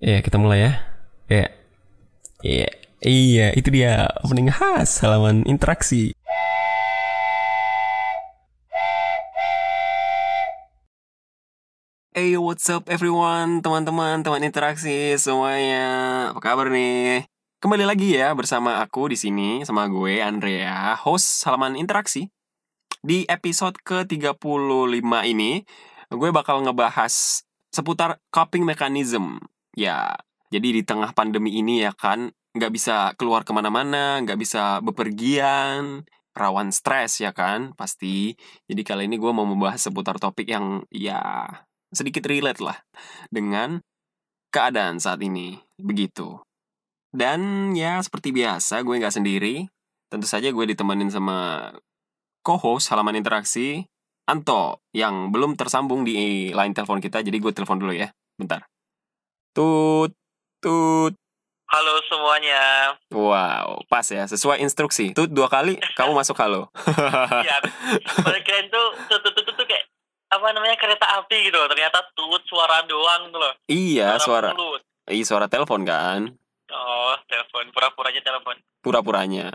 Iya, kita mulai ya. Iya. Iya. Iya, itu dia opening khas halaman interaksi. Hey, what's up everyone, teman-teman, teman interaksi semuanya. Apa kabar nih? Kembali lagi ya bersama aku di sini sama gue Andrea, host halaman interaksi. Di episode ke-35 ini, gue bakal ngebahas seputar coping mechanism. Ya, jadi di tengah pandemi ini ya kan, nggak bisa keluar kemana-mana, nggak bisa bepergian, rawan stres ya kan, pasti. Jadi kali ini gue mau membahas seputar topik yang ya sedikit relate lah dengan keadaan saat ini, begitu. Dan ya seperti biasa, gue nggak sendiri. Tentu saja gue ditemenin sama co-host halaman interaksi, Anto, yang belum tersambung di line telepon kita, jadi gue telepon dulu ya, bentar. Tut, tut. Halo semuanya. Wow, pas ya, sesuai instruksi. Tut dua kali, kamu masuk halo. Iya, paling keren tuh tut tut tut tut, tuh kayak apa namanya kereta api gitu loh. Ternyata tut suara doang tuh loh. iya, suara. mulut. Iya, suara telepon kan. Oh, telepon pura-puranya telepon. Pura-puranya.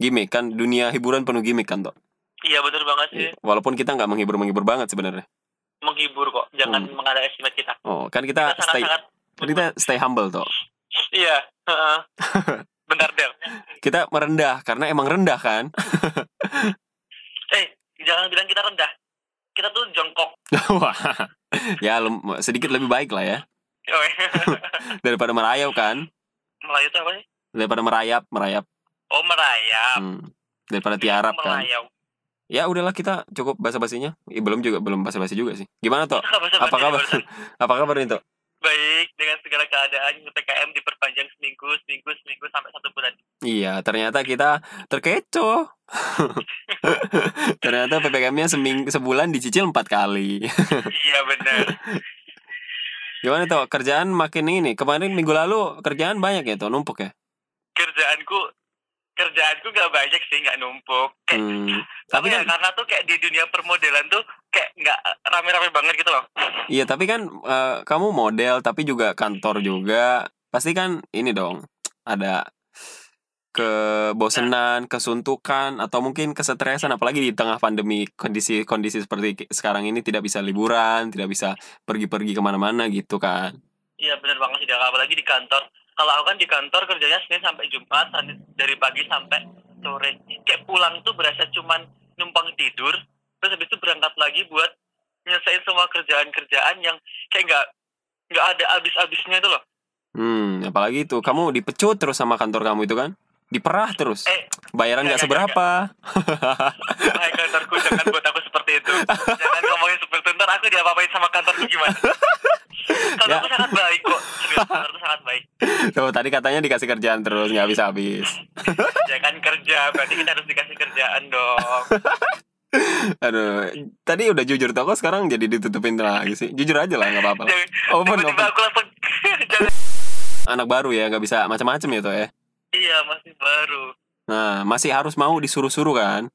Gimik kan, dunia hiburan penuh gimik kan, Tok? Iya bener banget sih. Walaupun kita nggak menghibur-menghibur banget sebenarnya. Menghibur kok. Iya. Jangan Hmm. mengada estimate kita. Oh, kan kita Kita stay sangat-sangat kan kita stay humble, Tok. Iya, heeh. Bentar, Del. Kita merendah karena emang rendah kan? Eh, jangan bilang kita rendah. Kita tuh jongkok. Wah. ya, lum- sedikit lebih baik lah ya Oh, daripada merayap kan? Melayu tuh apa sih? Daripada merayap, merayap. Oh, merayap. Hmm. Daripada tiarap kan. Melayau. Ya udahlah kita cukup basa-basinya. Eh, belum juga belum basa-basi juga sih. Gimana Tok? Apa Apa kabar? kabar? Apa kabar nih Tok? Baik, dengan segala keadaan PPKM diperpanjang seminggu, seminggu, seminggu sampai satu bulan. Iya, ternyata kita terkecoh. ternyata PPKM-nya seming sebulan dicicil empat kali. iya benar. Gimana Tok? Kerjaan makin ini. Kemarin minggu lalu kerjaan banyak ya Tok, numpuk ya. Kerjaanku kerjaanku nggak banyak sih, nggak numpuk. Kayak, Hmm. tapi Tapi ya, kan karena tuh kayak di dunia permodelan tuh kayak nggak rame-rame banget gitu loh. iya, tapi kan eh, kamu model tapi juga kantor juga. Pasti kan ini dong. Ada kebosenan, Iya. kesuntukan atau mungkin kesetresan apalagi di tengah pandemi kondisi-kondisi seperti sekarang ini tidak bisa liburan, tidak bisa pergi-pergi kemana-mana gitu kan. Iya benar banget sih, Del. apalagi di kantor. Kalau aku kan di kantor kerjanya Senin sampai Jumat, Senin- dari pagi sampai sore. Kayak pulang tuh berasa cuman numpang tidur, terus habis itu berangkat lagi buat nyelesain semua kerjaan-kerjaan yang kayak nggak nggak ada habis-habisnya itu loh. Hmm, apalagi itu kamu dipecut terus sama kantor kamu itu kan? Diperah terus. Eh, Bayaran nggak enggak, enggak, seberapa. Hai kantorku, jangan buat aku seperti itu. Jangan ngomongin seperti itu, ntar aku diapa-apain sama kantorku gimana. Kantorku sangat baik kok, serius, kantorku sangat baik. Tuh tadi katanya dikasih kerjaan terus nggak habis habis. Jangan kerja, berarti kita harus dikasih kerjaan dong. Aduh, tadi udah jujur toko sekarang jadi ditutupin lagi sih. Jujur aja lah nggak apa-apa. lah. Jangan- Open, Tiba-tiba open. aku langsung, jangan. Anak baru ya nggak bisa macam-macam ya tuh ya. Iya, masih baru. Nah masih harus mau disuruh-suruh kan?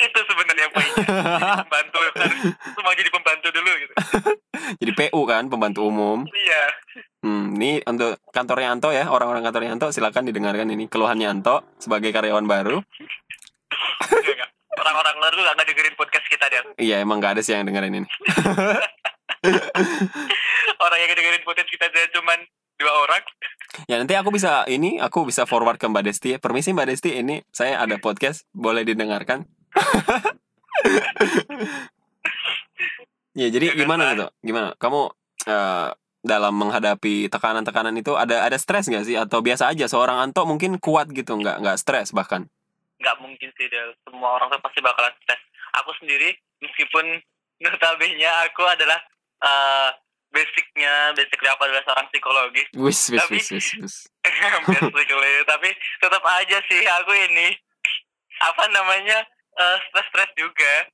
Itu sebenarnya poinnya. Jadi Pembantu, harus semua jadi pembantu dulu gitu. jadi PU kan pembantu umum. Iya, Hmm, ini untuk kantornya Anto ya orang-orang kantornya Anto silakan didengarkan ini keluhannya Anto sebagai karyawan baru. Enggak, enggak. Iya Orang-orang luar tuh gak dengerin podcast kita, Dan. Iya emang nggak ada sih yang dengerin ini. Orang yang dengerin podcast kita aja cuman dua orang. Ya nanti aku bisa ini aku bisa forward ke Mbak Desti ya. Permisi Mbak Desti ini saya ada podcast boleh didengarkan. ya jadi Ya, gimana kan, gitu? Gimana? Kamu eh, dalam menghadapi tekanan-tekanan itu ada ada stres nggak sih atau biasa aja seorang Anto mungkin kuat gitu nggak nggak stres bahkan. nggak mungkin sih Del. semua orang tuh pasti bakalan stres aku sendiri meskipun notabene aku adalah eh, basicnya basically aku adalah seorang psikologis Wis wis Tapi- wis wis. wis. basically tapi tetap aja sih aku ini apa namanya eh, stres-stres juga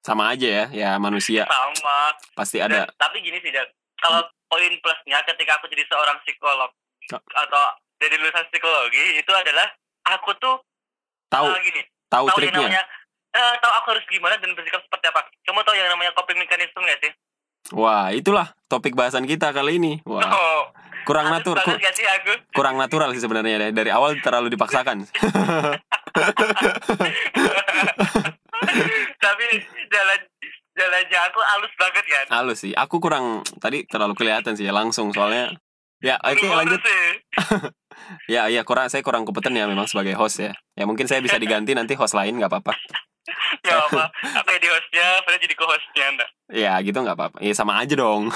Sama aja ya ya manusia sama pasti Dan- ada. Hmm. tapi gini sih Del. kalau poin plusnya ketika aku jadi seorang psikolog Kak. atau dari lulusan psikologi itu adalah aku tuh Tahu eh, gini tahu tahu yang triknya. namanya eh, tahu aku harus gimana dan bersikap seperti apa. Kamu tahu yang namanya coping mechanism nggak sih? Wah itulah topik bahasan kita kali ini. Wah Oh, kurang Halus natur banget ku- gak sih aku kurang natural sih sebenarnya deh. dari awal terlalu dipaksakan tapi jalan jalannya aku halus banget kan halus sih aku kurang tadi terlalu kelihatan sih langsung soalnya ya oke Lu lanjut halus sih. ya iya kurang saya kurang kompeten ya memang sebagai host ya ya mungkin saya bisa diganti nanti host lain nggak apa-apa Gak Ya apa aku jadi hostnya Fred jadi co-hostnya enggak ya gitu nggak apa-apa ya sama aja dong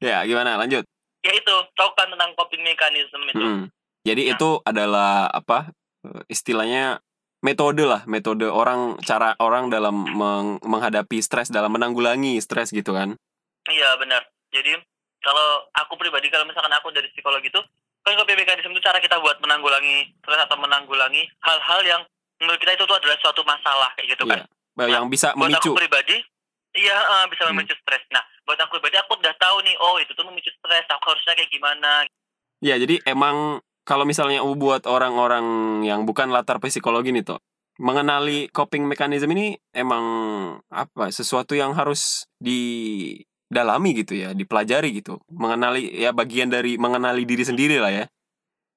ya gimana lanjut ya itu tahu kan tentang coping mechanism itu Mm. Jadi Nah. itu adalah apa eh, istilahnya metode lah, metode orang cara orang dalam meng- menghadapi stres dalam menanggulangi stres gitu kan. Iya benar. Jadi kalau aku pribadi kalau misalkan aku dari psikolog itu kan coping mechanism itu cara kita buat menanggulangi stres atau menanggulangi hal-hal yang menurut kita itu tuh adalah suatu masalah kayak gitu kan. Iya. Bah, Yang bisa buat memicu. aku pribadi iya eh, bisa Hmm. memicu stres. Nah, buat aku pribadi aku udah tahu nih oh itu tuh memicu stres, aku harusnya kayak gimana. Ya, jadi emang kalau misalnya buat orang-orang yang bukan latar psikologi nih toh mengenali coping mechanism ini emang apa sesuatu yang harus didalami gitu ya, dipelajari gitu. Mengenali ya bagian dari mengenali diri sendiri lah ya.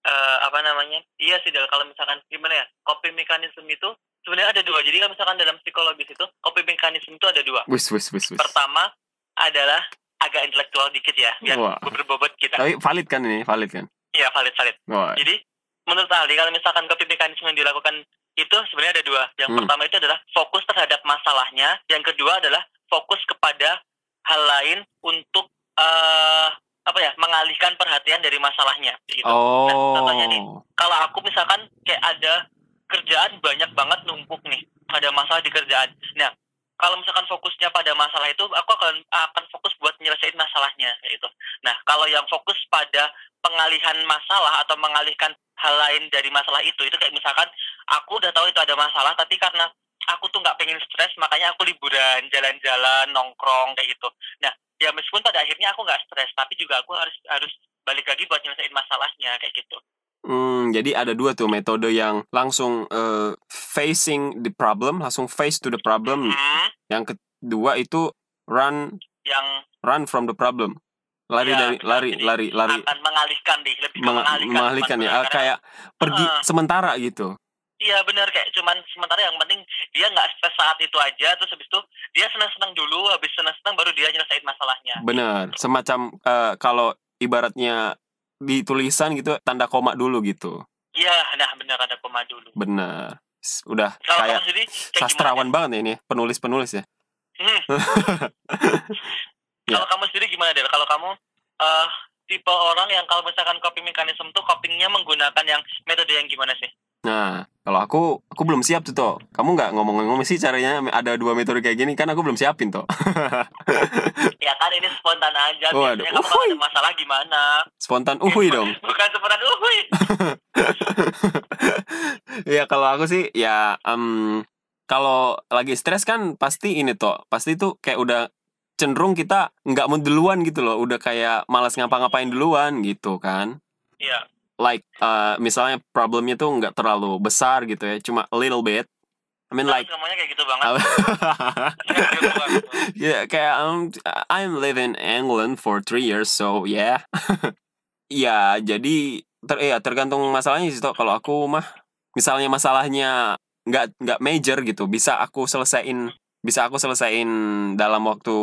Eh, apa namanya? Iya sih Del, kalau misalkan gimana ya? Coping mechanism itu sebenarnya ada dua. Jadi kalau misalkan dalam psikologis itu coping mechanism itu ada dua. Wis wis wis wis. Pertama adalah agak intelektual dikit ya, biar Wah. berbobot kita. Tapi valid kan ini, valid kan? Iya valid valid. Wah. Jadi menurut ahli kalau misalkan coping mechanism yang dilakukan itu sebenarnya ada dua. Yang Hmm. pertama itu adalah fokus terhadap masalahnya. Yang kedua adalah fokus kepada hal lain untuk eh apa ya mengalihkan perhatian dari masalahnya. Gitu. Nah, Oh. contohnya nih. Kalau aku misalkan kayak ada kerjaan banyak banget numpuk nih, ada masalah di kerjaan. Nah kalau misalkan fokusnya pada masalah itu, aku akan akan fokus buat nyelesain masalahnya, kayak gitu. Nah, kalau yang fokus pada pengalihan masalah atau mengalihkan hal lain dari masalah itu, itu kayak misalkan aku udah tahu itu ada masalah, tapi karena aku tuh nggak pengen stres, makanya aku liburan, jalan-jalan, nongkrong, kayak gitu. Nah, ya meskipun pada akhirnya aku nggak stres, tapi juga aku harus harus balik lagi buat nyelesain masalahnya, kayak gitu. Hmm, jadi ada dua tuh metode yang langsung eh, facing the problem, langsung face to the problem. Hmm, Yang kedua itu run yang run from the problem. Lari Iya, dari lari jadi lari lari akan mengalihkan deh, lebih ke menga- mengalihkan ya ah, Karena- kayak pergi Heeh. sementara gitu. Iya benar kayak cuman sementara yang penting dia nggak stres saat itu aja terus habis itu dia senang-senang dulu habis senang-senang baru dia nyelesain masalahnya. Bener, semacam eh, kalau ibaratnya di tulisan gitu tanda koma dulu gitu. Iya, nah benar ada koma dulu. Bener. S- Udah Kalau kayak kamu sendiri kayak sastrawan banget ya ini, ya, penulis-penulis ya. gimana? Hmm. Kalau kamu sendiri gimana Del? Kalau kamu eh tipe orang yang kalau misalkan coping mechanism tuh copingnya menggunakan yang metode yang gimana sih? Nah, kalau aku aku belum siap tuh toh. Kamu nggak ngomong-ngomong sih caranya ada dua metode kayak gini kan aku belum siapin toh. Ya kan ini spontan aja. Waduh, Biasanya kamu kalau ada masalah gimana? Spontan uhui Iya, dong. Bukan spontan uhuy. ya kalau aku sih ya em, kalau lagi stres kan pasti ini toh. Pasti tuh kayak udah cenderung kita nggak mau duluan gitu loh. Udah kayak malas ngapa-ngapain duluan gitu kan. Iya. Like eh, misalnya problemnya tuh nggak terlalu besar gitu ya. Cuma a little bit. I mean like Semuanya kayak gitu banget. yeah, kayak um, I'm living in England for three years, so yeah. ya, jadi ter ya tergantung masalahnya sih toh. Kalau aku mah, misalnya masalahnya nggak nggak major gitu, bisa aku selesaiin, bisa aku selesaiin dalam waktu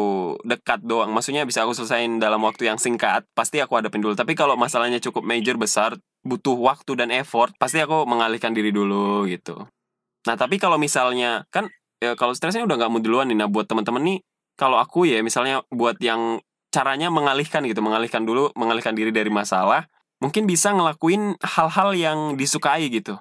dekat doang. Maksudnya bisa aku selesaiin dalam waktu yang singkat. Pasti aku hadapin dulu. Tapi kalau masalahnya cukup major besar, butuh waktu dan effort, pasti aku mengalihkan diri dulu gitu. Nah, tapi kalau misalnya kan ya kalau stresnya udah nggak mau duluan nih nah buat teman-teman nih kalau aku ya misalnya buat yang caranya mengalihkan gitu mengalihkan dulu mengalihkan diri dari masalah mungkin bisa ngelakuin hal-hal yang disukai gitu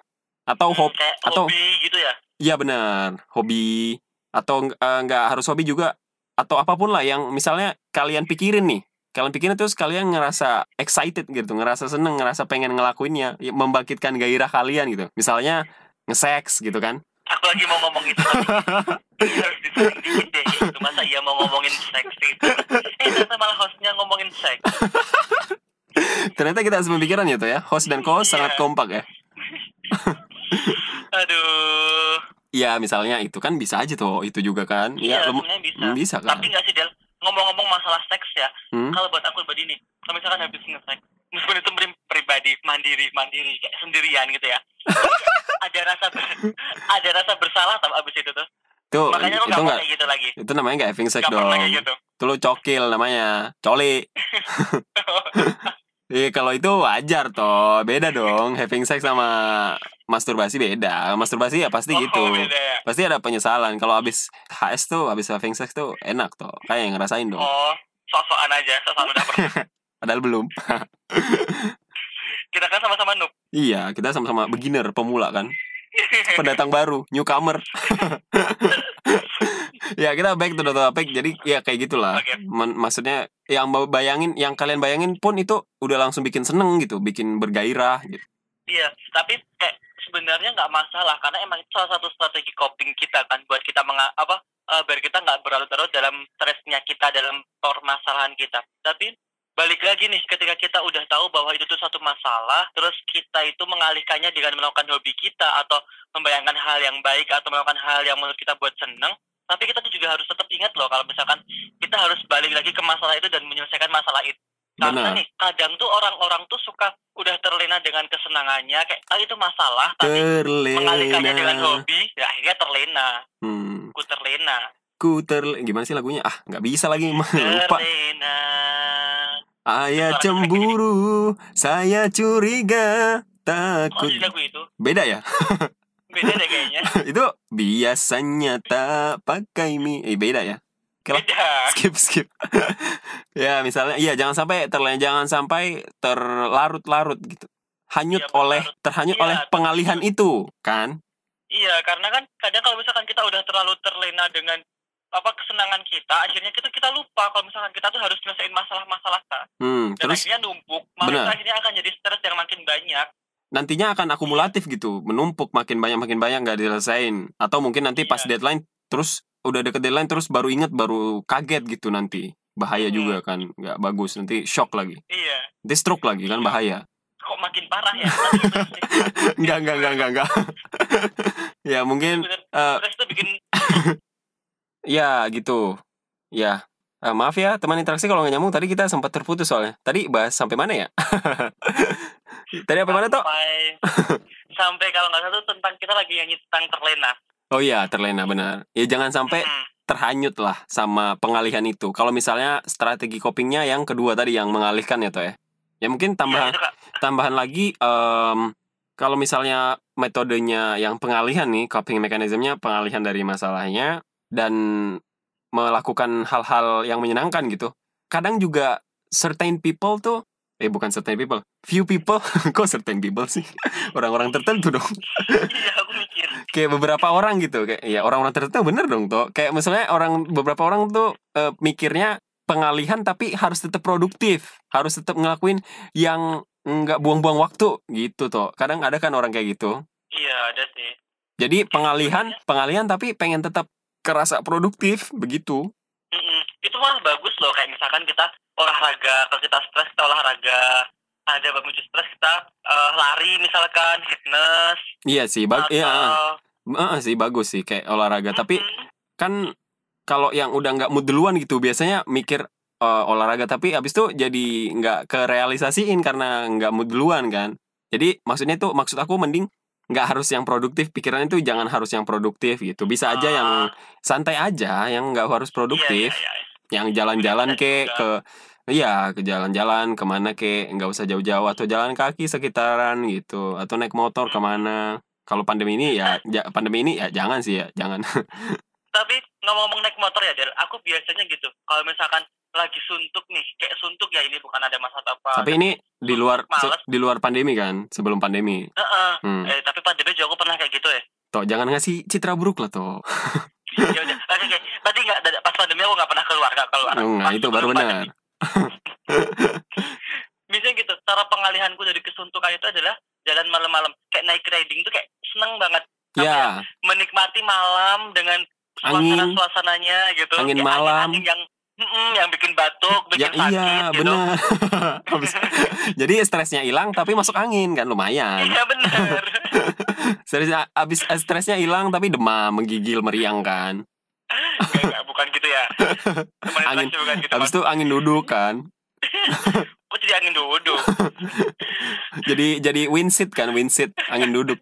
atau Hmm, hobi kayak atau- hobi gitu ya. ya benar hobi atau eh, nggak harus hobi juga atau apapun lah yang misalnya kalian pikirin nih kalian pikirin terus kalian ngerasa excited gitu ngerasa seneng ngerasa pengen ngelakuinnya ya, membangkitkan gairah kalian gitu misalnya ngeseks gitu kan aku lagi mau ngomong itu tapi ini harus ditulis dikit deh gitu. masa iya mau ngomongin seks itu eh ternyata malah hostnya ngomongin seks Ternyata kita harus berpikiran ya tuh ya. Host dan co-host Iya. sangat kompak ya. aduh Iya, misalnya itu kan bisa aja tuh. Itu juga kan. iya Iya, lem- sebenarnya bisa bisa kan. tapi nggak sih Del ngomong-ngomong masalah seks ya Hmm? kalau buat aku pribadi nih kalau misalkan habis ngesek meskipun itu pri- pribadi mandiri mandiri kayak sendirian gitu ya ada rasa ber- ada rasa bersalah tau abis itu tuh Tuh, makanya Oh, aku itu gak mau nggak kayak gitu lagi itu namanya nggak having sex gak dong. pernah kayak gitu Itu lu cokil namanya, coli. gitu. Iya, kalau itu wajar toh, beda dong. Having sex sama masturbasi beda. Masturbasi ya pasti Oh, gitu. beda ya. Pasti ada penyesalan. Kalau habis HS tuh, habis having sex tuh enak toh. Kayak yang ngerasain dong. oh sosokan aja sosokan udah pernah Padahal belum. kita kan sama-sama noob Iya, kita sama-sama beginner, pemula kan. Pendatang baru, newcomer. ya, kita back to the topic. Jadi ya kayak gitulah. Oke. Men- maksudnya yang mau bayangin, yang kalian bayangin pun itu udah langsung bikin seneng gitu, bikin bergairah gitu. Iya, tapi kayak sebenarnya nggak masalah karena emang itu salah satu strategi coping kita kan buat kita menga- apa eh, biar kita nggak berlarut-larut dalam stresnya kita dalam permasalahan kita. Tapi balik lagi nih ketika kita udah tahu bahwa itu tuh satu masalah, terus kita itu mengalihkannya dengan melakukan hobi kita atau membayangkan hal yang baik atau melakukan hal yang menurut kita buat seneng. Tapi kita tuh juga harus tetap ingat loh kalau misalkan kita harus balik lagi ke masalah itu dan menyelesaikan masalah itu karena Benar. nih kadang tuh orang-orang tuh suka udah terlena dengan kesenangannya kayak ah itu masalah tapi Iya, mengalihkannya dengan Terlena. hobi ya akhirnya terlena Hmm, ku terlena ku terle- gimana sih lagunya? Ah, nggak bisa lagi lupa. terlena Ayah cemburu, saya curiga, oh takut. jadi lagu itu Beda ya? beda deh kayaknya itu biasanya tak pakai mie eh, beda ya Kenapa? beda skip skip ya misalnya iya jangan sampai terle jangan sampai terlarut-larut gitu hanyut Iya, oleh berlarut. terhanyut Iya, oleh pengalihan itu kan iya karena kan kadang kalau misalkan kita udah terlalu terlena dengan apa kesenangan kita akhirnya kita kita lupa kalau misalkan kita tuh harus nyelesain masalah-masalah kita hmm, dan terus akhirnya numpuk malah Benar. itu akhirnya akan jadi stres yang makin banyak nantinya akan akumulatif gitu menumpuk makin banyak makin banyak nggak diselesain atau mungkin nanti pas Iya. deadline terus udah deket deadline terus baru inget baru kaget gitu nanti bahaya Hmm. juga kan nggak bagus nanti shock lagi iya nanti stroke lagi kan bahaya kok makin parah ya Tapi itu sih. Enggak, enggak, enggak, enggak, enggak. ya, mungkin Bener. eh Stres itu bikin ya gitu. Ya. Eh, maaf ya, teman interaksi kalau nggak nyambung tadi kita sempat terputus soalnya. Tadi bahas sampai mana ya? tadi sampai mana toh? sampai sampai kalau nggak salah tuh tentang kita lagi nyanyi tentang terlena. Oh iya, terlena benar. Ya jangan sampai Mm. terhanyut lah sama pengalihan itu. Kalau misalnya strategi copingnya yang kedua tadi yang mengalihkan ya toh ya. Ya mungkin Iya, tambahan itu, Kak. tambahan lagi em, kalau misalnya metodenya yang pengalihan nih coping mekanismenya pengalihan dari masalahnya dan melakukan hal-hal yang menyenangkan gitu kadang juga certain people tuh eh bukan certain people few people kok certain people sih orang-orang tertentu dong Iya, aku mikir. kayak beberapa orang gitu kayak ya orang-orang tertentu bener dong toh kayak misalnya orang beberapa orang tuh eh, mikirnya pengalihan tapi harus tetap produktif harus tetap ngelakuin yang nggak buang-buang waktu gitu toh kadang ada kan orang kayak gitu Iya, ada sih. jadi pengalihan pengalihan tapi pengen tetap kerasa produktif begitu Mm-mm. Hmm, Itu malah bagus loh kayak misalkan kita olahraga, kalau kita stres kita olahraga. Ada pemicu stres kita eh, lari misalkan fitness iya sih bag atau Hmm. iya eh, eh, sih bagus sih kayak olahraga tapi Mm-mm. kan kalau yang udah nggak mood duluan gitu biasanya mikir eh, olahraga tapi abis itu jadi nggak kerealisasiin karena nggak mood duluan kan jadi maksudnya tuh maksud aku mending nggak harus yang produktif pikirannya tuh jangan harus yang produktif gitu bisa aja yang Ah, santai aja yang nggak harus produktif Iya, iya, iya. yang jalan-jalan Bisa ke juga. ke iya ke jalan-jalan kemana ke nggak usah jauh-jauh atau jalan kaki sekitaran gitu atau naik motor Hmm. kemana kalau pandemi ini ya ja- pandemi ini ya jangan sih ya jangan Tapi ngomong-ngomong naik motor ya Del, aku biasanya gitu. Kalau misalkan lagi suntuk nih, kayak suntuk ya ini bukan ada masalah apa. Tapi ini di luar se- Males. di luar pandemi kan, sebelum pandemi. Heeh. Hmm. Eh, tapi pandemi juga aku pernah kayak gitu ya. Toh jangan ngasih citra buruk lah toh. ya udah, oke oke. Tadi nggak ada- pas pandemi aku nggak pernah keluar nggak keluar. Nah, Pas itu baru sebelum pandemi. benar. Biasanya gitu. Cara pengalihanku dari kesuntukan itu adalah jalan malam-malam. Kayak naik riding tuh kayak seneng banget Apa Ya, menikmati malam dengan suasana Angin. suasananya gitu. Angin Kayak malam. angin-angin yang mm, yang bikin batuk, bikin ya iya sakit gitu. benar. Habis- Jadi stresnya hilang tapi masuk angin kan lumayan. Iya benar. Stresnya abis eh, stresnya hilang tapi demam, menggigil, meriang kan. Enggak, bukan gitu ya. Teman Angin. interaksi bukan gitu. Habis itu angin duduk kan. Kok jadi angin duduk? jadi jadi winsit kan winsit angin duduk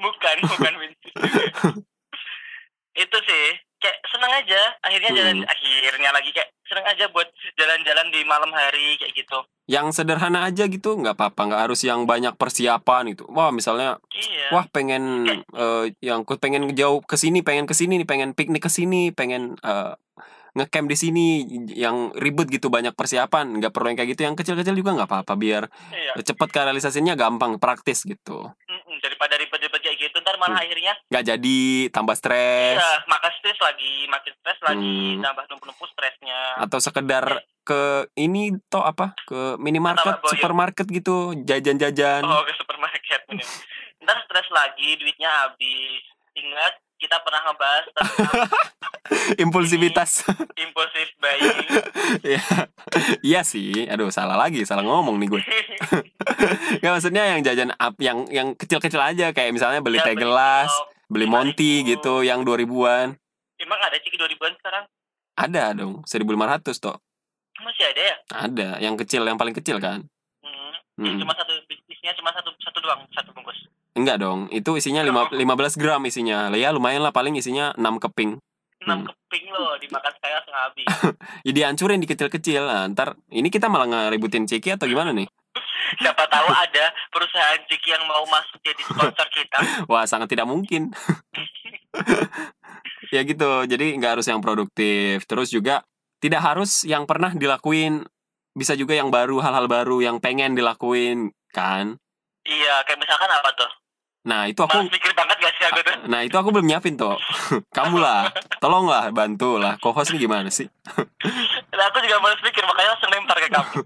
Bukan, bukan Windsor. Itu sih, kayak seneng aja. Akhirnya jalan, Hmm. akhirnya lagi kayak seneng aja buat jalan-jalan di malam hari kayak gitu. yang sederhana aja gitu nggak apa-apa nggak harus yang banyak persiapan gitu wah misalnya Iya. wah pengen eh, yang ku- pengen jauh ke sini pengen ke sini nih pengen piknik ke sini pengen eh, ngecamp di sini yang ribet gitu banyak persiapan nggak perlu yang kayak gitu yang kecil-kecil juga nggak apa-apa biar iya. cepet ke realisasinya gampang praktis gitu Mm-mm, daripada ribet-ribet kayak gitu, ntar malah Hmm. akhirnya nggak jadi tambah stres iya, makan stres lagi, makin stres lagi, Hmm. tambah numpuk-numpuk stresnya. atau sekedar ke ini toh apa ke minimarket Iya. Tambah boyok. supermarket gitu jajan-jajan Oh, ke supermarket. bener. ntar stres lagi, duitnya habis. Ingat, kita pernah ngebahas tentang impulsivitas impulsive buying. ya iya sih aduh salah lagi salah ngomong nih gue Gak maksudnya yang jajan up yang yang kecil-kecil aja kayak misalnya beli Ya, teh gelas oh, beli lima monti ribu. gitu yang 2000-an Emang ada Ciki 2000-an sekarang? ada dong 1500 toh Masih ada ya? ada yang kecil yang paling kecil kan Hmm. Ya, Mm. cuma satu bisnisnya cuma satu satu doang satu bungkus enggak dong itu isinya lima- 15 gram isinya ya lumayan lah paling isinya 6 keping Hmm. enam keping loh dimakan saya setengah habis Ya dihancurin di kecil-kecil nah, Ntar ini kita malah ngeributin Ciki atau gimana nih? siapa tahu ada perusahaan ciki yang mau masuk jadi sponsor kita Wah sangat tidak mungkin Ya gitu Jadi nggak harus yang produktif Terus juga tidak harus yang pernah dilakuin Bisa juga yang baru Hal-hal baru yang pengen dilakuin Kan iya kayak misalkan apa tuh Nah itu malas aku mikir banget gak sih aku tuh Nah itu aku belum nyiapin toh Kamu lah Tolonglah bantulah Co-host ini gimana sih? Nah, aku juga malas mikir makanya langsung lempar ke kamu apa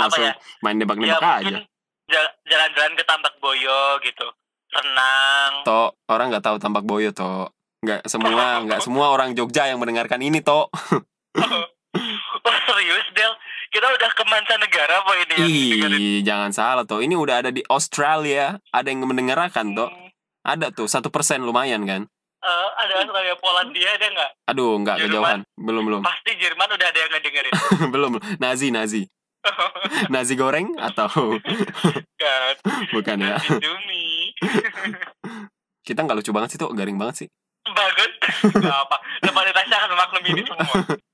Langsung ya main ya nebak-nebak aja mungkin jal- jalan-jalan ke tambak boyo gitu renang Toh orang nggak tahu tambak boyo toh nggak semua nggak semua orang Jogja yang mendengarkan ini toh Wah, Oh, serius Del kita udah ke mancanegara apa ini yang Iya, dengerin? Ih, jangan salah toh. Ini udah ada di Australia. Ada yang mendengarkan toh. Hmm. Ada tuh satu persen lumayan kan. Eh, ada Australia Polandia ada nggak Aduh, nggak Jerman. kejauhan. Belum belum pasti Jerman udah ada yang ngedengerin belum. Nazi Nazi. Nazi goreng atau kan bukan ya? Nasi Indomie. Kita nggak lucu banget sih tuh. Garing banget sih. bagus Gak apa depan Natasha akan memaklumi ini semua